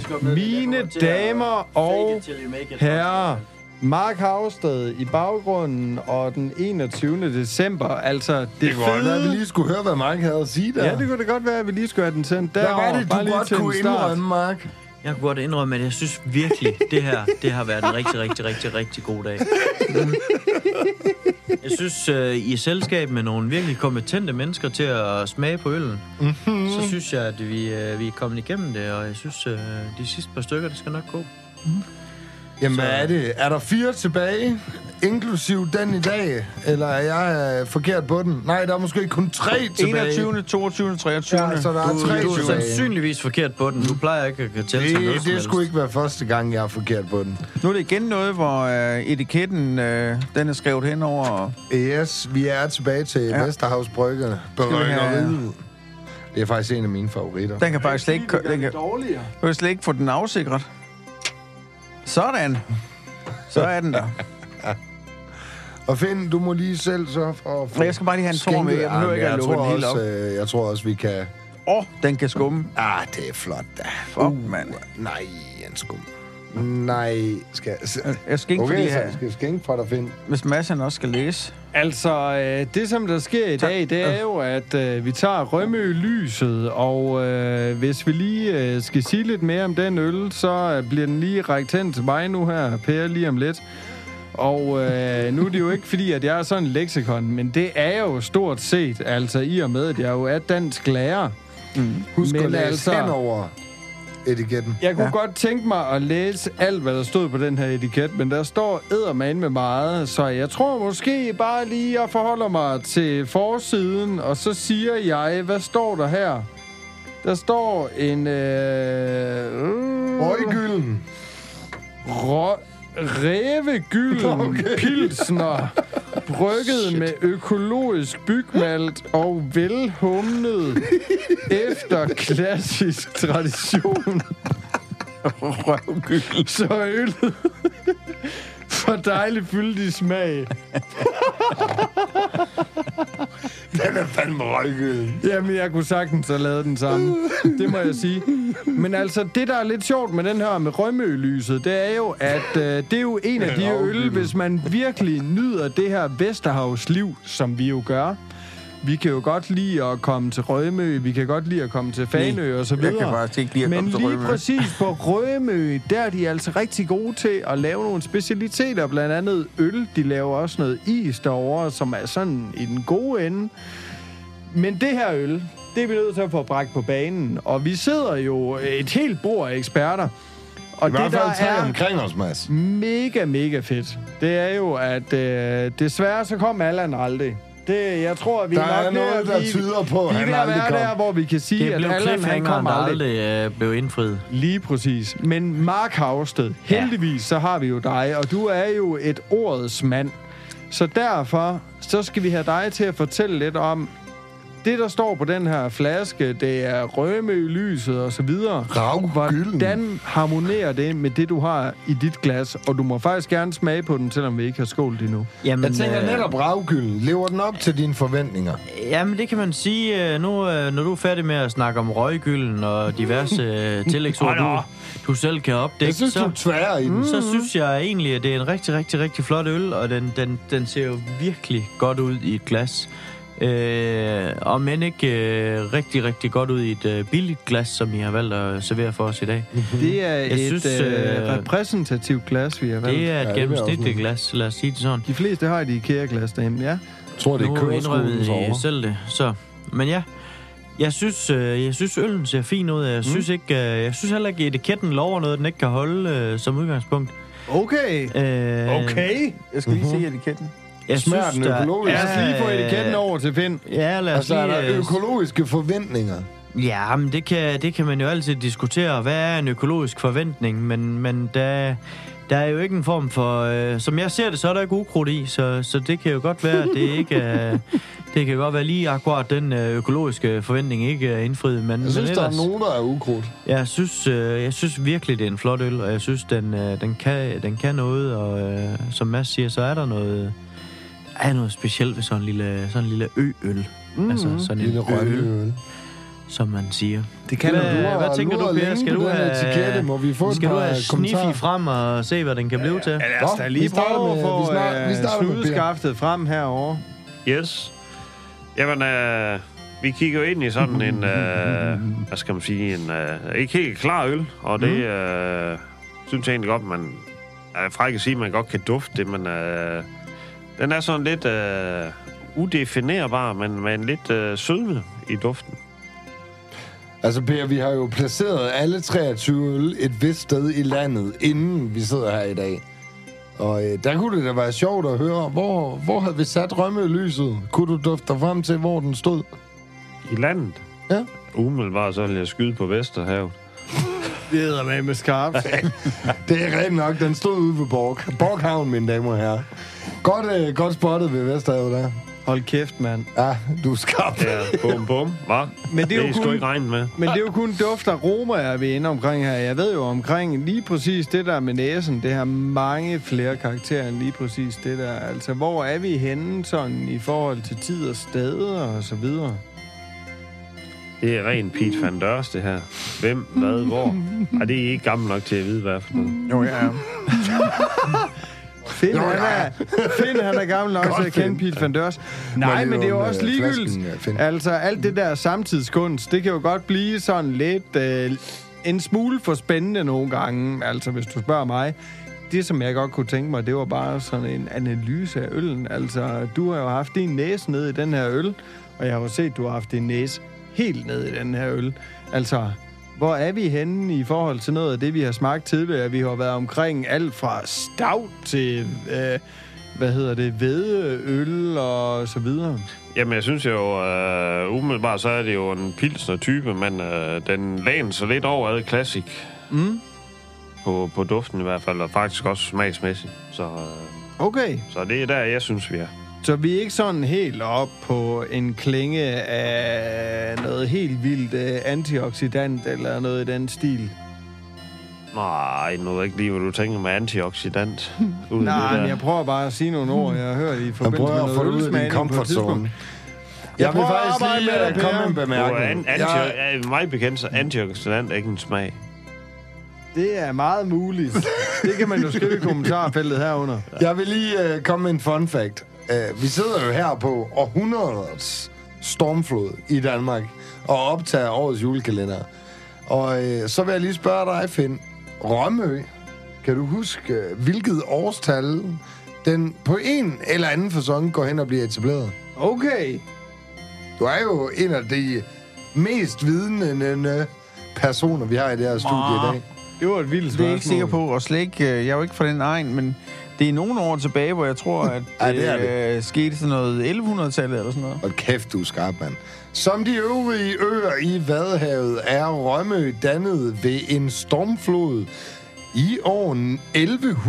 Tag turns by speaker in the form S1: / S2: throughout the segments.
S1: skal med.
S2: Mine
S1: Jeg kommer til at
S2: damer
S1: fake
S2: og
S1: it till you make it.
S2: herrer, Mark Havsted i baggrunden og den 21. december. Altså, det, det
S3: Det kunne godt være, at vi
S2: fede...
S3: lige skulle høre, hvad Mark havde at sige der.
S2: Ja, det kunne da godt være, at vi lige skulle have den sendt
S3: Hvad
S2: derovre.
S3: var det,
S2: bare
S3: du
S2: lige
S3: godt
S2: til en
S3: kunne
S2: start.
S3: indrømme, Mark?
S1: Jeg kunne godt indrømme, at jeg synes virkelig, det her det har været en rigtig, rigtig, rigtig, rigtig god dag. Mm. Jeg synes, øh, I er selskab med nogle virkelig kompetente mennesker til at smage på øllen. Mm-hmm. Så synes jeg, at vi, øh, vi er kommet igennem det, og jeg synes, øh, de sidste par stykker, det skal nok gå.
S3: Jamen,
S1: Så-
S3: hvad er det? Er der fire tilbage, inklusiv den i dag? Eller er jeg øh, forkert på den? Nej, der er måske kun tre tilbage.
S4: 21., 22., 23.
S3: Ja,
S2: altså,
S3: så der er
S1: Du,
S3: tre
S1: du er
S3: tilbage.
S1: sandsynligvis forkert på den. Du plejer ikke at kunne tælle til noget
S3: Det,
S1: som
S3: det
S1: helst.
S3: skulle ikke være første gang, jeg er forkert på den.
S4: Nu er det igen noget, hvor øh, etiketten øh, den er skrevet hen over.
S3: Yes, vi er tilbage til ja.
S4: Ja.
S3: Vesterhavs Brygge.
S4: vi have-
S3: Bryggeriet. Det er faktisk en af mine favoritter.
S4: Den kan faktisk slet ikke, kø- den kan,
S2: dårligere.
S4: du kan slet ikke få den afsikret. Sådan. Så er den der.
S3: Og Finn, du må lige selv så for at få
S4: Men jeg skal bare lige have en tår
S3: skænket-
S4: med. Jeg behøver
S3: Ah,
S4: ikke at
S3: jeg
S4: lukke
S3: tror
S4: den helt
S3: også, øh, Jeg tror også, vi kan...
S4: Åh, oh, den kan skumme.
S3: Ah, det er flot da.
S4: Fuck, uh. mand.
S3: Nej, en skum. Nej, skal jeg...
S4: Jeg skal ikke okay,
S3: Okay,
S4: lige
S3: så jeg
S4: have,
S3: skal skænke for dig, Finn.
S4: hvis Mads han også skal læse.
S2: Altså, øh, det som der sker i dag, det er jo, at øh, vi tager Rømø-lyset, og øh, hvis vi lige øh, skal sige lidt mere om den øl, så øh, bliver den lige rækt hen til mig nu her, Per, lige om lidt. Og øh, nu er det jo ikke fordi, at jeg er sådan en leksikon, men det er jo stort set, altså i og med, at jeg jo er dansk lærer.
S3: Mm. Husk
S2: Men
S3: at læse
S2: altså-
S3: altså... hen over etiketten.
S2: Jeg kunne
S4: Ja.
S2: ja. godt tænke mig at læse alt, hvad der stod på den her etiket, men der står eddermane med meget, så jeg tror måske bare lige, jeg forholder mig til forsiden, og så siger jeg, hvad står der her? Der står en... Øh, øh,
S3: Røggylden.
S2: rå- Rævegylden okay. pilsner, brygget med økologisk bygmalt og velhumlet efter klassisk tradition.
S4: Røvgyld.
S2: Så er øllet for dejligt fyldig smag.
S3: Den er fandme røggylden.
S2: Jamen, jeg kunne sagtens have lavet den samme. Det må jeg sige. Men altså, det der er lidt sjovt med den her med rømølyset, det er jo, at øh, det er jo en af de øl, hvis man virkelig nyder det her Vesterhavsliv, som vi jo gør. Vi kan jo godt lide at komme til Rømø, vi kan godt lide at komme til Fanø og så
S4: Jeg
S2: videre.
S4: kan faktisk ikke lide at
S2: Men
S4: komme til
S2: lige
S4: Rømø.
S2: præcis på Rømø, der er de altså rigtig gode til at lave nogle specialiteter, blandt andet øl. De laver også noget is derovre, som er sådan i den gode ende. Men det her øl, det er vi nødt til at få bragt på banen. Og vi sidder jo et helt bord af eksperter. Og
S3: I hvert fald tre omkring os, Mads.
S2: mega, mega fedt, det er jo, at øh, desværre så kom Allan aldrig. Det, jeg tror, vi
S3: Der
S2: nok
S3: er
S2: ved at
S3: noget, der
S2: blive-
S3: tyder på,
S2: vi
S3: at
S2: er
S3: han
S2: ved at
S3: aldrig
S2: være
S3: kom.
S2: der, hvor vi kan sige,
S1: Det
S2: at
S1: blev
S2: Allan han
S1: cliffhangeren,
S2: kom
S1: der
S2: aldrig.
S1: aldrig øh, blev indfriet.
S2: Lige præcis. Men Mark Havsted, heldigvis så har vi jo dig, og du er jo et ordets mand. Så derfor, så skal vi have dig til at fortælle lidt om, det der står på den her flaske, det er røme i lyset og så videre.
S3: Ravgylden.
S2: Hvordan harmonerer det med det, du har i dit glas? Og du må faktisk gerne smage på den, selvom vi ikke har skålt endnu.
S1: Jamen, øh,
S3: Jeg tænker netop ravgylden. Lever den op til dine forventninger?
S1: Jamen, det kan man sige. øh, Nu, øh, når du er færdig med at snakke om røggylden og diverse øh, tillægsord, du, du selv kan opdække,
S3: Jeg synes,
S1: så, Mm.
S3: du Mm. tværer i den.
S1: så synes jeg egentlig, at det er en rigtig, rigtig, rigtig flot øl, og den, den, den ser jo virkelig godt ud i et glas. Øh, og men ikke øh, rigtig, rigtig godt ud i et øh, billigt glas, som I har valgt at servere for os i dag.
S2: Det er
S1: Jeg
S2: et
S1: synes,
S2: øh,
S1: øh,
S2: repræsentativt glas, vi har valgt.
S1: Det er
S3: vil
S1: et
S3: jeg også
S1: gennemsnitligt
S3: mene.
S1: glas, lad os sige det sådan.
S2: De fleste har et IKEA-glas derhjemme, ja.
S3: Jeg tror, det er
S1: Nu
S3: køreskolen
S1: indrømmede I
S3: over.
S1: øh, selv det, så... Men ja, jeg synes, øh, jeg synes øllen ser fin ud.
S3: Mm.
S1: Jeg synes, ikke, øh, jeg synes heller ikke, etiketten lover noget, den ikke kan holde øh, som udgangspunkt.
S2: Okay.
S1: Øh,
S4: Jeg skal lige se etiketten.
S1: Jeg
S3: Smager
S1: synes,
S3: den
S1: der
S3: økologisk?
S2: Lad os
S1: er-
S2: lige få etiketten over til Finn.
S1: Ja, lad os
S3: Altså, er
S1: lige...
S3: der
S1: øh,
S3: økologiske forventninger?
S1: Ja, men det kan, det kan man jo altid diskutere. Hvad er en økologisk forventning? Men, men der, der er jo ikke en form for... Øh, som jeg ser det, så er der ikke ukrudt i, så, så det kan jo godt være, at det ikke er... Det kan godt være lige akkurat den øh, økologiske forventning ikke er indfriet, men,
S3: Jeg synes,
S1: men
S3: der er
S1: ellers-
S3: nogen, der er ukrudt.
S1: Jeg synes, øh, jeg synes virkelig, det er en flot øl, og jeg synes, den, øh, den, kan, den kan noget, og øh, som Mads siger, så er der noget, er noget specielt ved sådan en lille, sådan en lille ø-øl. Mm-hmm. Altså sådan en
S3: Mm. Lille
S1: øl.
S3: rønneøl.
S1: som man siger.
S4: Det kan
S1: Hvad-
S4: du.
S3: lurer-
S1: hvad tænker
S3: lurer
S1: du, Per?
S3: længe
S1: Skal
S3: på
S1: du
S3: den
S1: have-
S3: etikette? Må vi få et
S1: Skal du
S3: par
S1: have sniffi
S3: kommentarer?
S1: frem og se, hvad den kan blive til?
S4: Ja, lad os
S3: Nå,
S4: da
S3: vi
S4: lige
S3: starter
S4: prøve
S3: med-
S4: at få
S3: vi starter- vi
S4: øh,
S3: starter med Per.
S2: Snudeskaftet frem herovre.
S5: Yes. Jamen, øh, vi kigger jo ind i sådan en, øh, hvad skal man sige, en øh, ikke helt klar øl, og
S2: Mm.
S5: det øh, synes jeg egentlig godt, man er fræk at sige, at man godt kan dufte det, men øh, den er sådan lidt øh, udefinerbar, men med en lidt øh, sødme i duften.
S3: Altså, Per, vi har jo placeret alle 23 øl et vist sted i landet, inden vi sidder her i dag. Og øh, der kunne det da være sjovt at høre, hvor, hvor havde vi sat rømmelyset? Kunne du dufte dig frem til, hvor den stod?
S5: I landet?
S3: Ja.
S5: Umiddelbart så vil jeg skyde på Vesterhavet.
S2: Det hedder med med skarpt.
S3: Det er rent nok, den stod ude ved Borg. Borghavn, mine damer og herrer. Godt, øh, godt spottet ved Vesterhavet der.
S2: Hold kæft, mand.
S3: Ja, du er skarp.
S5: Ja, bum bum, hva?
S2: Men det er jo
S5: det er sgu
S2: kun-
S5: ikke regnet med.
S2: Men det er jo kun duft af romaer, vi er inde omkring her. Jeg ved jo omkring lige præcis det der med næsen. Det har mange flere karakterer end lige præcis det der. Altså, hvor er vi henne sådan i forhold til tid og sted og så videre?
S5: Det er ren Pete Van Dørs, det her. Hvem, hvad, hvor? Ej, det er I ikke gammel nok til at vide, hvad det er for noget.
S4: Jo, ja, ja.
S2: Finn,
S3: Jo,
S2: han
S3: ja.
S2: er, Finn, han er gammel nok til at kende Pete Van Dørs. Nej,
S3: lige
S2: men det er jo
S3: åbne,
S2: også
S3: øh, flasken, øh,
S2: ligegyldigt.
S3: Finn.
S2: Altså, alt det der samtidskunst, det kan jo godt blive sådan lidt øh, en smule for spændende nogle gange, altså hvis du spørger mig. Det, som jeg godt kunne tænke mig, det var bare sådan en analyse af øllen. Altså, du har jo haft din næse ned i den her øl, og jeg har jo set, du har haft din næse helt ned i den her øl. Altså, hvor er vi henne i forhold til noget af det, vi har smagt tidligere? Vi har været omkring alt fra stout til, øh, hvad hedder det, vedeøl og så videre.
S5: Jamen, jeg synes jo, øh, umiddelbart så er det jo en pilsner-type, men øh, den læner sig lidt over ad klassik. Mm. På, på duften i hvert fald, og faktisk også smagsmæssigt. Så, øh,
S2: Okay,
S5: så det er der, jeg synes, vi er.
S2: så vi er ikke sådan helt op på en klinge af noget helt vildt øh, antioxidant eller noget i den stil.
S5: Nej, nu ved jeg ikke lige, hvad du tænker med antioxidant. Ud i
S2: Nej,
S5: det der.
S2: men jeg prøver bare at sige nogle ord, jeg har hørt i
S3: Jeg
S2: forbindelse
S3: prøver
S2: med
S3: at få det
S2: noget
S3: ud af din
S2: ølsmagning på et tidspunkt.
S3: comfortzone. Jeg vil
S2: prøver at
S3: faktisk
S2: arbejde
S3: lige
S2: med
S3: med
S2: det,
S3: at komme
S2: Per.
S3: med en
S5: Du er an,
S3: bemærkning.
S5: anti,
S3: Jeg-
S5: jeg... mig bekendt, så antioxidant er ikke en smag.
S2: Det er meget muligt. Det kan man jo skrive i kommentarfeltet herunder.
S3: Jeg vil lige øh, komme med en fun fact. Øh, vi sidder jo her på århundredets stormflod i Danmark og optager årets julekalender. Og øh, så vil jeg lige spørge dig, Finn. Rømø, kan du huske, øh, hvilket årstal den på en eller anden fasong går hen og bliver etableret?
S2: Okay.
S3: Du er jo en af de mest vidende personer, vi har i det her studie i dag.
S2: Det var et vildt spørgsmål.
S4: Det er jeg ikke sikker på, og slet ikke, øh, jeg er jo ikke fra den egen, men det er nogle år tilbage, hvor jeg tror, at
S3: Ja, det er det.
S4: øh, skete sådan noget 1100-tallet eller sådan noget.
S3: Og kæft, du er skarp, mand. Som de øvrige øer i Vadehavet er Rømø dannet ved en stormflod i år 1190.
S4: Ej, det er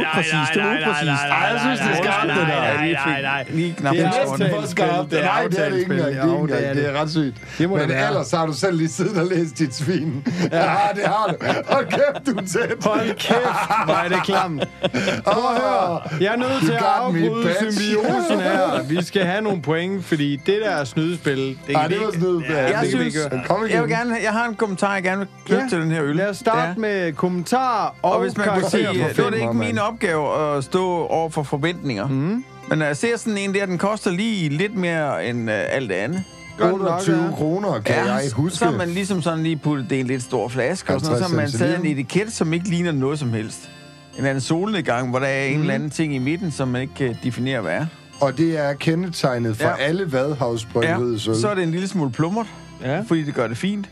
S4: upræcist, det er upræcist.
S3: nej, jeg synes, det er skarpt, det der.
S4: Nej, nej, nej. Lige knap
S2: Det er
S4: en
S2: næsten
S4: tårne.
S2: for
S3: Hvor skarpt.
S2: Det er
S3: Nej, det er det ikke
S2: aftalespil.
S3: engang. Det er, ikke
S2: Jo, det er
S3: engang. det er ret sygt.
S2: Det må
S3: Men
S2: det være.
S3: ellers har du selv lige siddet og læst dit svin. Ja, det har du. Hold kæft, du er tæt.
S2: Hold kæft, hvor er det klamt.
S3: Prøv at høre.
S2: Jeg er nødt
S3: You
S2: til at
S3: got me,
S2: afbryde
S3: bitch.
S2: symbiosen her. Vi skal have nogle point, fordi det der snydespil, det kan
S3: Ej,
S2: vi
S3: det var
S2: ikke...
S3: snydt. Ja,
S4: Jeg
S3: det kan vi
S4: synes,
S3: ikke gøre. Kom igen.
S4: jeg, vil gerne, jeg har en kommentar, jeg gerne vil knytte
S2: Ja.
S4: til den her øl.
S2: Lad os
S4: Det er-
S2: starte med kommentarer og,
S4: Og hvis man kunne sige,
S2: karakterer
S4: øh,
S2: på
S4: det var
S2: fem.
S4: det ikke
S3: mand.
S4: min opgave at stå over for forventninger. Mm. Men når jeg ser sådan en der, den koster lige lidt mere end øh, alt det andet.
S2: Godt nok,
S3: 28
S2: ja.
S3: kroner, kan jeg huske.
S4: Så har man ligesom sådan lige puttet det i en lidt stor flaske, og sådan noget, så har man
S3: 50
S4: taget en
S3: centiliter.
S4: etiket, som ikke ligner noget som helst. En eller anden solnedgang, hvor der er en eller anden ting i midten, som man ikke kan definere, hvad er.
S3: Og det er kendetegnet for
S4: Ja.
S3: alle vadhavsbryggeriets øl.
S4: så er det en lille smule plumret,
S2: Ja.
S4: fordi det gør det fint.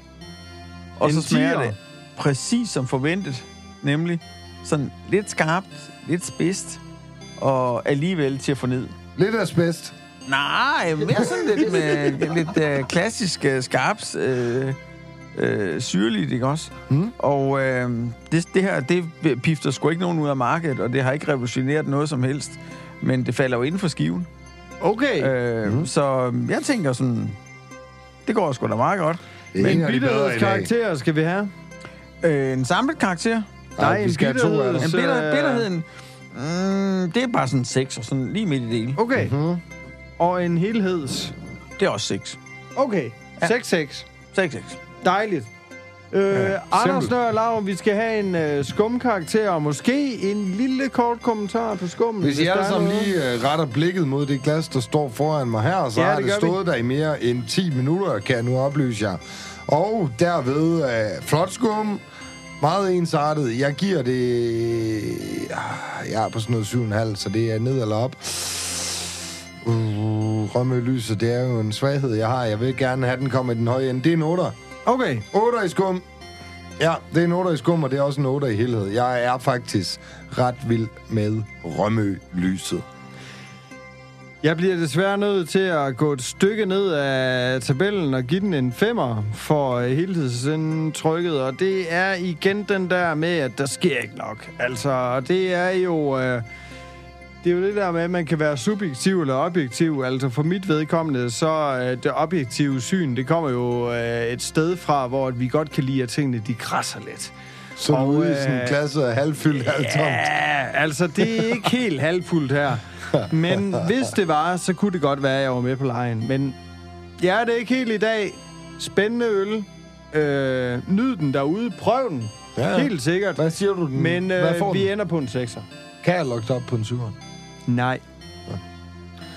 S4: Og
S2: En
S4: så smager
S2: tier.
S4: det præcis som forventet, nemlig sådan lidt skarpt, lidt spidst, og alligevel til at få ned.
S3: Lidt asbest.
S4: Nej, mere sådan lidt, med, lidt øh, klassisk øh, skarps øh, øh, syrligt, ikke også? Mm. Og øh, det, det her, det pifter sgu ikke nogen ud af markedet, og det har ikke revolutioneret noget som helst. Men det falder jo inden for skiven.
S2: Okay.
S4: Øh, mm. Så jeg tænker sådan, det går sgu da meget godt.
S3: Det er en af de bedre i dag.
S2: Bitterhedskarakterer skal vi have.
S4: Øh, en samlet karakter.
S3: Nej,
S2: Nej,
S3: vi
S2: en
S3: skal have to af
S2: bitterhed.
S3: dem.
S4: En
S2: Så,
S4: bitter,
S2: øh,
S4: bitterheden. Mm, det er bare
S2: Oh.
S4: sådan 6, og sådan lige midt i det hele.
S2: Okay. Mm-hmm. Og en helheds.
S4: Det er også 6.
S2: Okay,
S4: Ja.
S2: 6-6.
S4: 6-6.
S2: Dejligt. Øh, ja, Anders
S3: simpelt.
S2: Nør Lav, vi skal have en øh, skumkarakter, og måske en lille kort kommentar på skummen.
S3: Hvis I
S2: der
S3: alle
S2: er
S3: sammen
S2: noget.
S3: lige øh, retter blikket mod det glas, der står foran mig her, så
S2: Ja,
S3: ja, har
S2: det
S3: det,
S2: gør vi.
S3: stået der i mere end 10 minutter, kan jeg nu oplyse jer. Og derved øh, flot skum, meget ensartet. Jeg giver det... ah, Jeg er på sådan noget 7,5, så det er ned eller op. Uh, Rømme lyset, det er jo en svaghed, jeg har. Jeg vil gerne have, den kommer i den høje ende. Det er en 8'er.
S2: Okay,
S3: 8 i skum. Ja, det er en 8 i skum, og det er også en 8 i helhed. Jeg er faktisk ret vild med Rømø-lyset.
S2: jeg bliver desværre nødt til at gå et stykke ned af tabellen og give den en femmer for øh, helhedsindtrykket, og det er igen den der med, at der sker ikke nok. Altså, og det er jo... Øh, det er jo det der med, at man kan være subjektiv eller objektiv. Altså for mit vedkommende, så øh, det objektive syn, det kommer jo øh, et sted fra, hvor at vi godt kan lide, at tingene de krasser lidt.
S3: Så
S2: Og,
S3: og, ude i sådan
S2: øh,
S3: en klasse er halvfyldt, halvtomt.
S2: Ja, altså det er ikke helt halvfuldt her. Men hvis det var, så kunne det godt være, at jeg var med på lejen. Men jeg er det ikke helt i dag. Spændende øl. Øh, nyd den derude. Prøv den.
S3: Ja,
S2: Ja.
S3: ja.
S2: Helt sikkert.
S3: Hvad siger du? Den?
S2: Men
S3: Hvad
S2: øh,
S3: får
S2: vi
S3: vi er...
S2: ender på en 6'er.
S3: Kan jeg lukke op på en 7'er?
S2: Nej.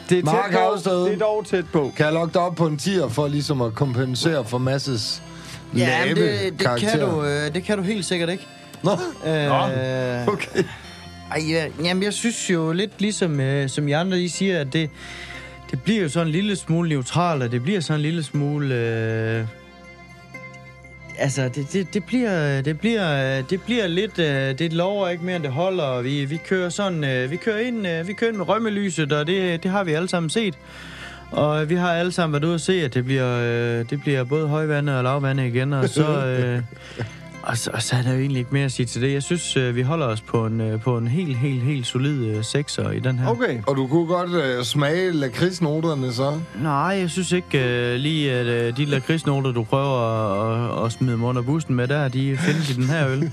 S2: Det er,
S3: Mark
S2: tæt på.
S3: Havsted.
S2: det er dog tæt på.
S3: Kan jeg lukke op på en 10'er for ligesom at kompensere for masses
S1: Ja, men
S3: lave
S1: det, det, kan
S3: karakterer?
S1: du, øh, det kan du helt sikkert ikke.
S3: Nå,
S1: Øh,
S3: okay.
S1: Ej, ja, jamen, jeg synes jo lidt ligesom, øh, som I andre I siger, at det, det bliver jo sådan en lille smule neutralt, og det bliver sådan en lille smule... Øh, altså, det, det, det, bliver, det, bliver, øh, det bliver lidt... Øh, det lover ikke mere, end det holder, og vi, vi kører sådan... Øh, vi, kører ind, øh, vi kører ind med rømmelyset, og det, det har vi alle sammen set. Og øh, vi har alle sammen været ude og se, at det bliver, øh, det bliver både højvandet og lavvandet igen, og så... Øh, og så, og så er der jo egentlig ikke mere at sige til det. Jeg synes, øh, vi holder os på en, øh, på en helt, helt, helt solid øh, sekser i den her.
S2: Okay.
S3: Og du kunne godt øh, smage lakridsnoterne så?
S1: Nej, jeg synes ikke øh, lige, at øh, de lakridsnoter, du prøver at, at, at smide mig under bussen med der, de findes i den her øl.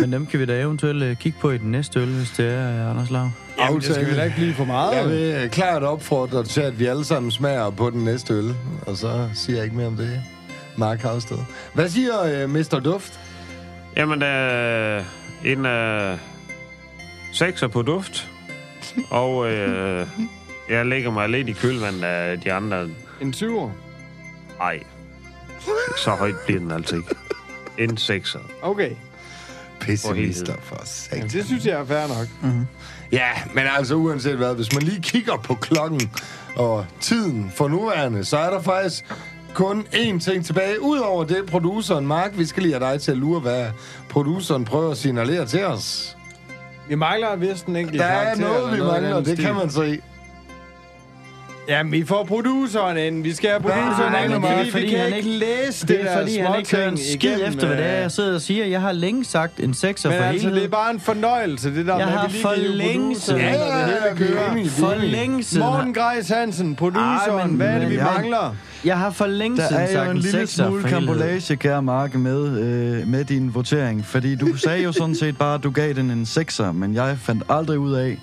S1: Men dem kan vi da eventuelt øh, kigge på i den næste øl, hvis det er øh, Anders Lav.
S2: Jamen, det skal
S3: Aftale.
S2: vi da ikke blive for
S3: Jeg
S2: meget.
S3: vil øh, klart opfordre til, at vi alle sammen smager på den næste øl. Og så siger jeg ikke mere om det. Mark Havsted. Hvad siger øh, Mr. Duft?
S5: Jamen, øh, en øh, sekser på duft. Og øh, jeg lægger mig lidt i kølvandet af de andre.
S2: En 20'er.
S5: Ej, så højt bliver den altså ikke. En sekser.
S2: Okay.
S3: Pessimister for satan.
S2: Jamen, det synes jeg er fair nok.
S3: Ja, men altså uanset hvad, hvis man lige kigger på klokken og tiden for nuværende, så er der faktisk kun én ting tilbage. Udover det, produceren Mark, vi skal lige have dig til at lure, hvad produceren prøver at signalere til os.
S2: Vi mangler vist en enkelt
S3: Der er
S2: karakter
S3: noget,
S2: eller
S3: vi
S2: i
S3: mangler,
S2: den
S3: det
S2: stil.
S3: kan man se.
S2: Jamen, vi får produceren ind. Vi skal have
S1: Nej,
S2: produceren ind,
S1: men det er
S2: fordi,
S1: fordi,
S2: vi kan
S1: han
S2: ikke
S1: ikke-
S2: læse det,
S1: Det er
S2: der
S1: fordi, han ikke hører en
S2: småting
S1: skid
S2: igennem,
S1: efter, hvad det er,
S2: øh.
S1: jeg sidder og siger. Jeg har længe sagt en sekser
S2: Men
S1: for
S2: altså,
S1: helvede.
S2: det er bare en fornøjelse, det der
S1: Jeg
S2: med,
S1: har
S2: at vi
S1: for
S2: lige kan hive
S1: længe
S2: produceren
S1: siden-
S2: ind, og det hele
S3: vi er
S2: kører.
S3: enige, vi er
S1: For
S3: enige.
S1: længe siden.
S2: Morten Grejs Hansen,
S1: Ej,
S2: produceren,
S1: men-
S2: hvad er det, vi
S1: men jeg-
S2: mangler?
S1: Jeg har for længe
S6: Der
S1: siden
S6: er
S1: sagt
S6: jo en lille
S1: sekser,
S6: smule
S1: for helvede.
S6: kambolage, kære Mark, med, øh, med din votering. Fordi du sagde jo sådan set bare, at du gav den en 6'er, men jeg fandt aldrig ud af,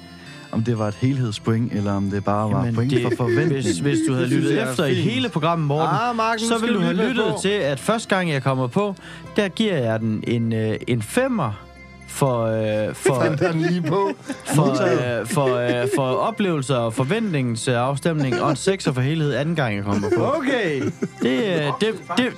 S6: om det var et helhedspoint, eller om det bare var
S1: Jamen,
S6: point
S1: det-
S6: for forventning.
S1: Hvis, hvis du havde
S2: Det synes
S1: lyttet
S2: jeg er
S1: efter i
S2: fint.
S1: hele programmet, Morten,
S2: Ah, Mark, nu
S1: så
S2: skal
S1: ville du
S2: vi
S1: have
S2: lige passe
S1: lyttet
S2: på.
S1: til, at første gang, jeg kommer på, der giver jeg den en, øh, en femmer for, øh, for,
S3: Fandt han lige på.
S1: for, øh, for, øh, for oplevelser og forventningens øh, afstemning, og en sekser for helhed anden gang, jeg kommer på.
S2: Okay.
S1: Det, øh, det, det,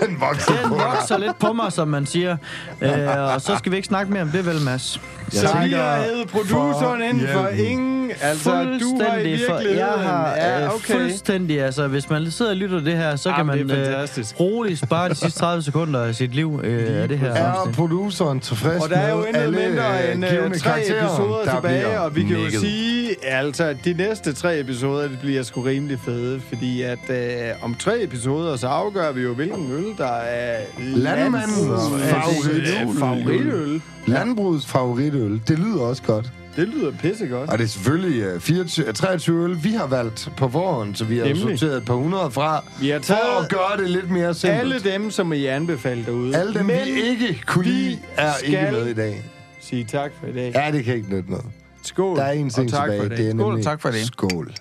S3: Den voksede
S1: den
S3: på dig.
S1: vokser lidt på mig, som man siger. Øh, og så skal vi ikke snakke mere om det, vel, Mads?
S2: Så vi
S3: takker
S2: har hævet produceren
S3: for
S2: ind for
S3: hjælpen.
S2: ingen... Altså, du har i
S1: for
S2: virkeligheden...
S1: jeg har
S2: ja,
S1: øh,
S2: okay.
S1: fuldstændig, altså hvis man sidder og lytter til det her, så
S2: Jamen,
S1: kan
S2: det
S1: man
S2: er
S1: øh,
S2: fantastisk.
S1: roligt spare de sidste 30 sekunder af sit liv øh, af det her
S3: Er
S1: afsnit.
S3: produceren tilfreds
S2: Og der er jo
S3: med
S2: intet
S3: alle
S2: mindre
S3: øh,
S2: end
S3: givne
S2: øh, tre
S3: karakterer,
S2: episoder
S3: der
S2: tilbage,
S3: bliver
S2: og vi kan jo
S3: nikket?
S2: sige, altså, at de næste tre episoder, det bliver sgu rimelig fede, fordi at øh, om tre episoder, så afgør vi jo, hvilken øl, der er
S3: Landmandens
S2: landbrugets
S3: favoritøl.
S2: øh, favoritøl.
S3: Landbrugets favoritøl, det lyder også godt.
S2: Det lyder pissegodt.
S3: Og det er selvfølgelig øh, 24, 23 øl, vi har valgt på forhånd, så vi har
S2: Nemlig.
S3: Nemlig. sorteret et par hundrede fra.
S2: Vi har
S3: For
S2: taget
S3: at gøre det lidt mere simpelt.
S2: alle dem, som I anbefaler derude.
S3: Alle dem, vi ikke kunne
S2: vi
S3: lide, er
S2: skal-
S3: ikke med i dag.
S2: Sige tak for i dag.
S3: Ja, det kan ikke nytte noget.
S2: Skål,
S3: Der er en ting
S2: og tak for i
S3: tilbage.
S2: dag.
S3: Det er
S4: Skål og
S3: nemlig
S4: tak for i dag.
S3: Skål.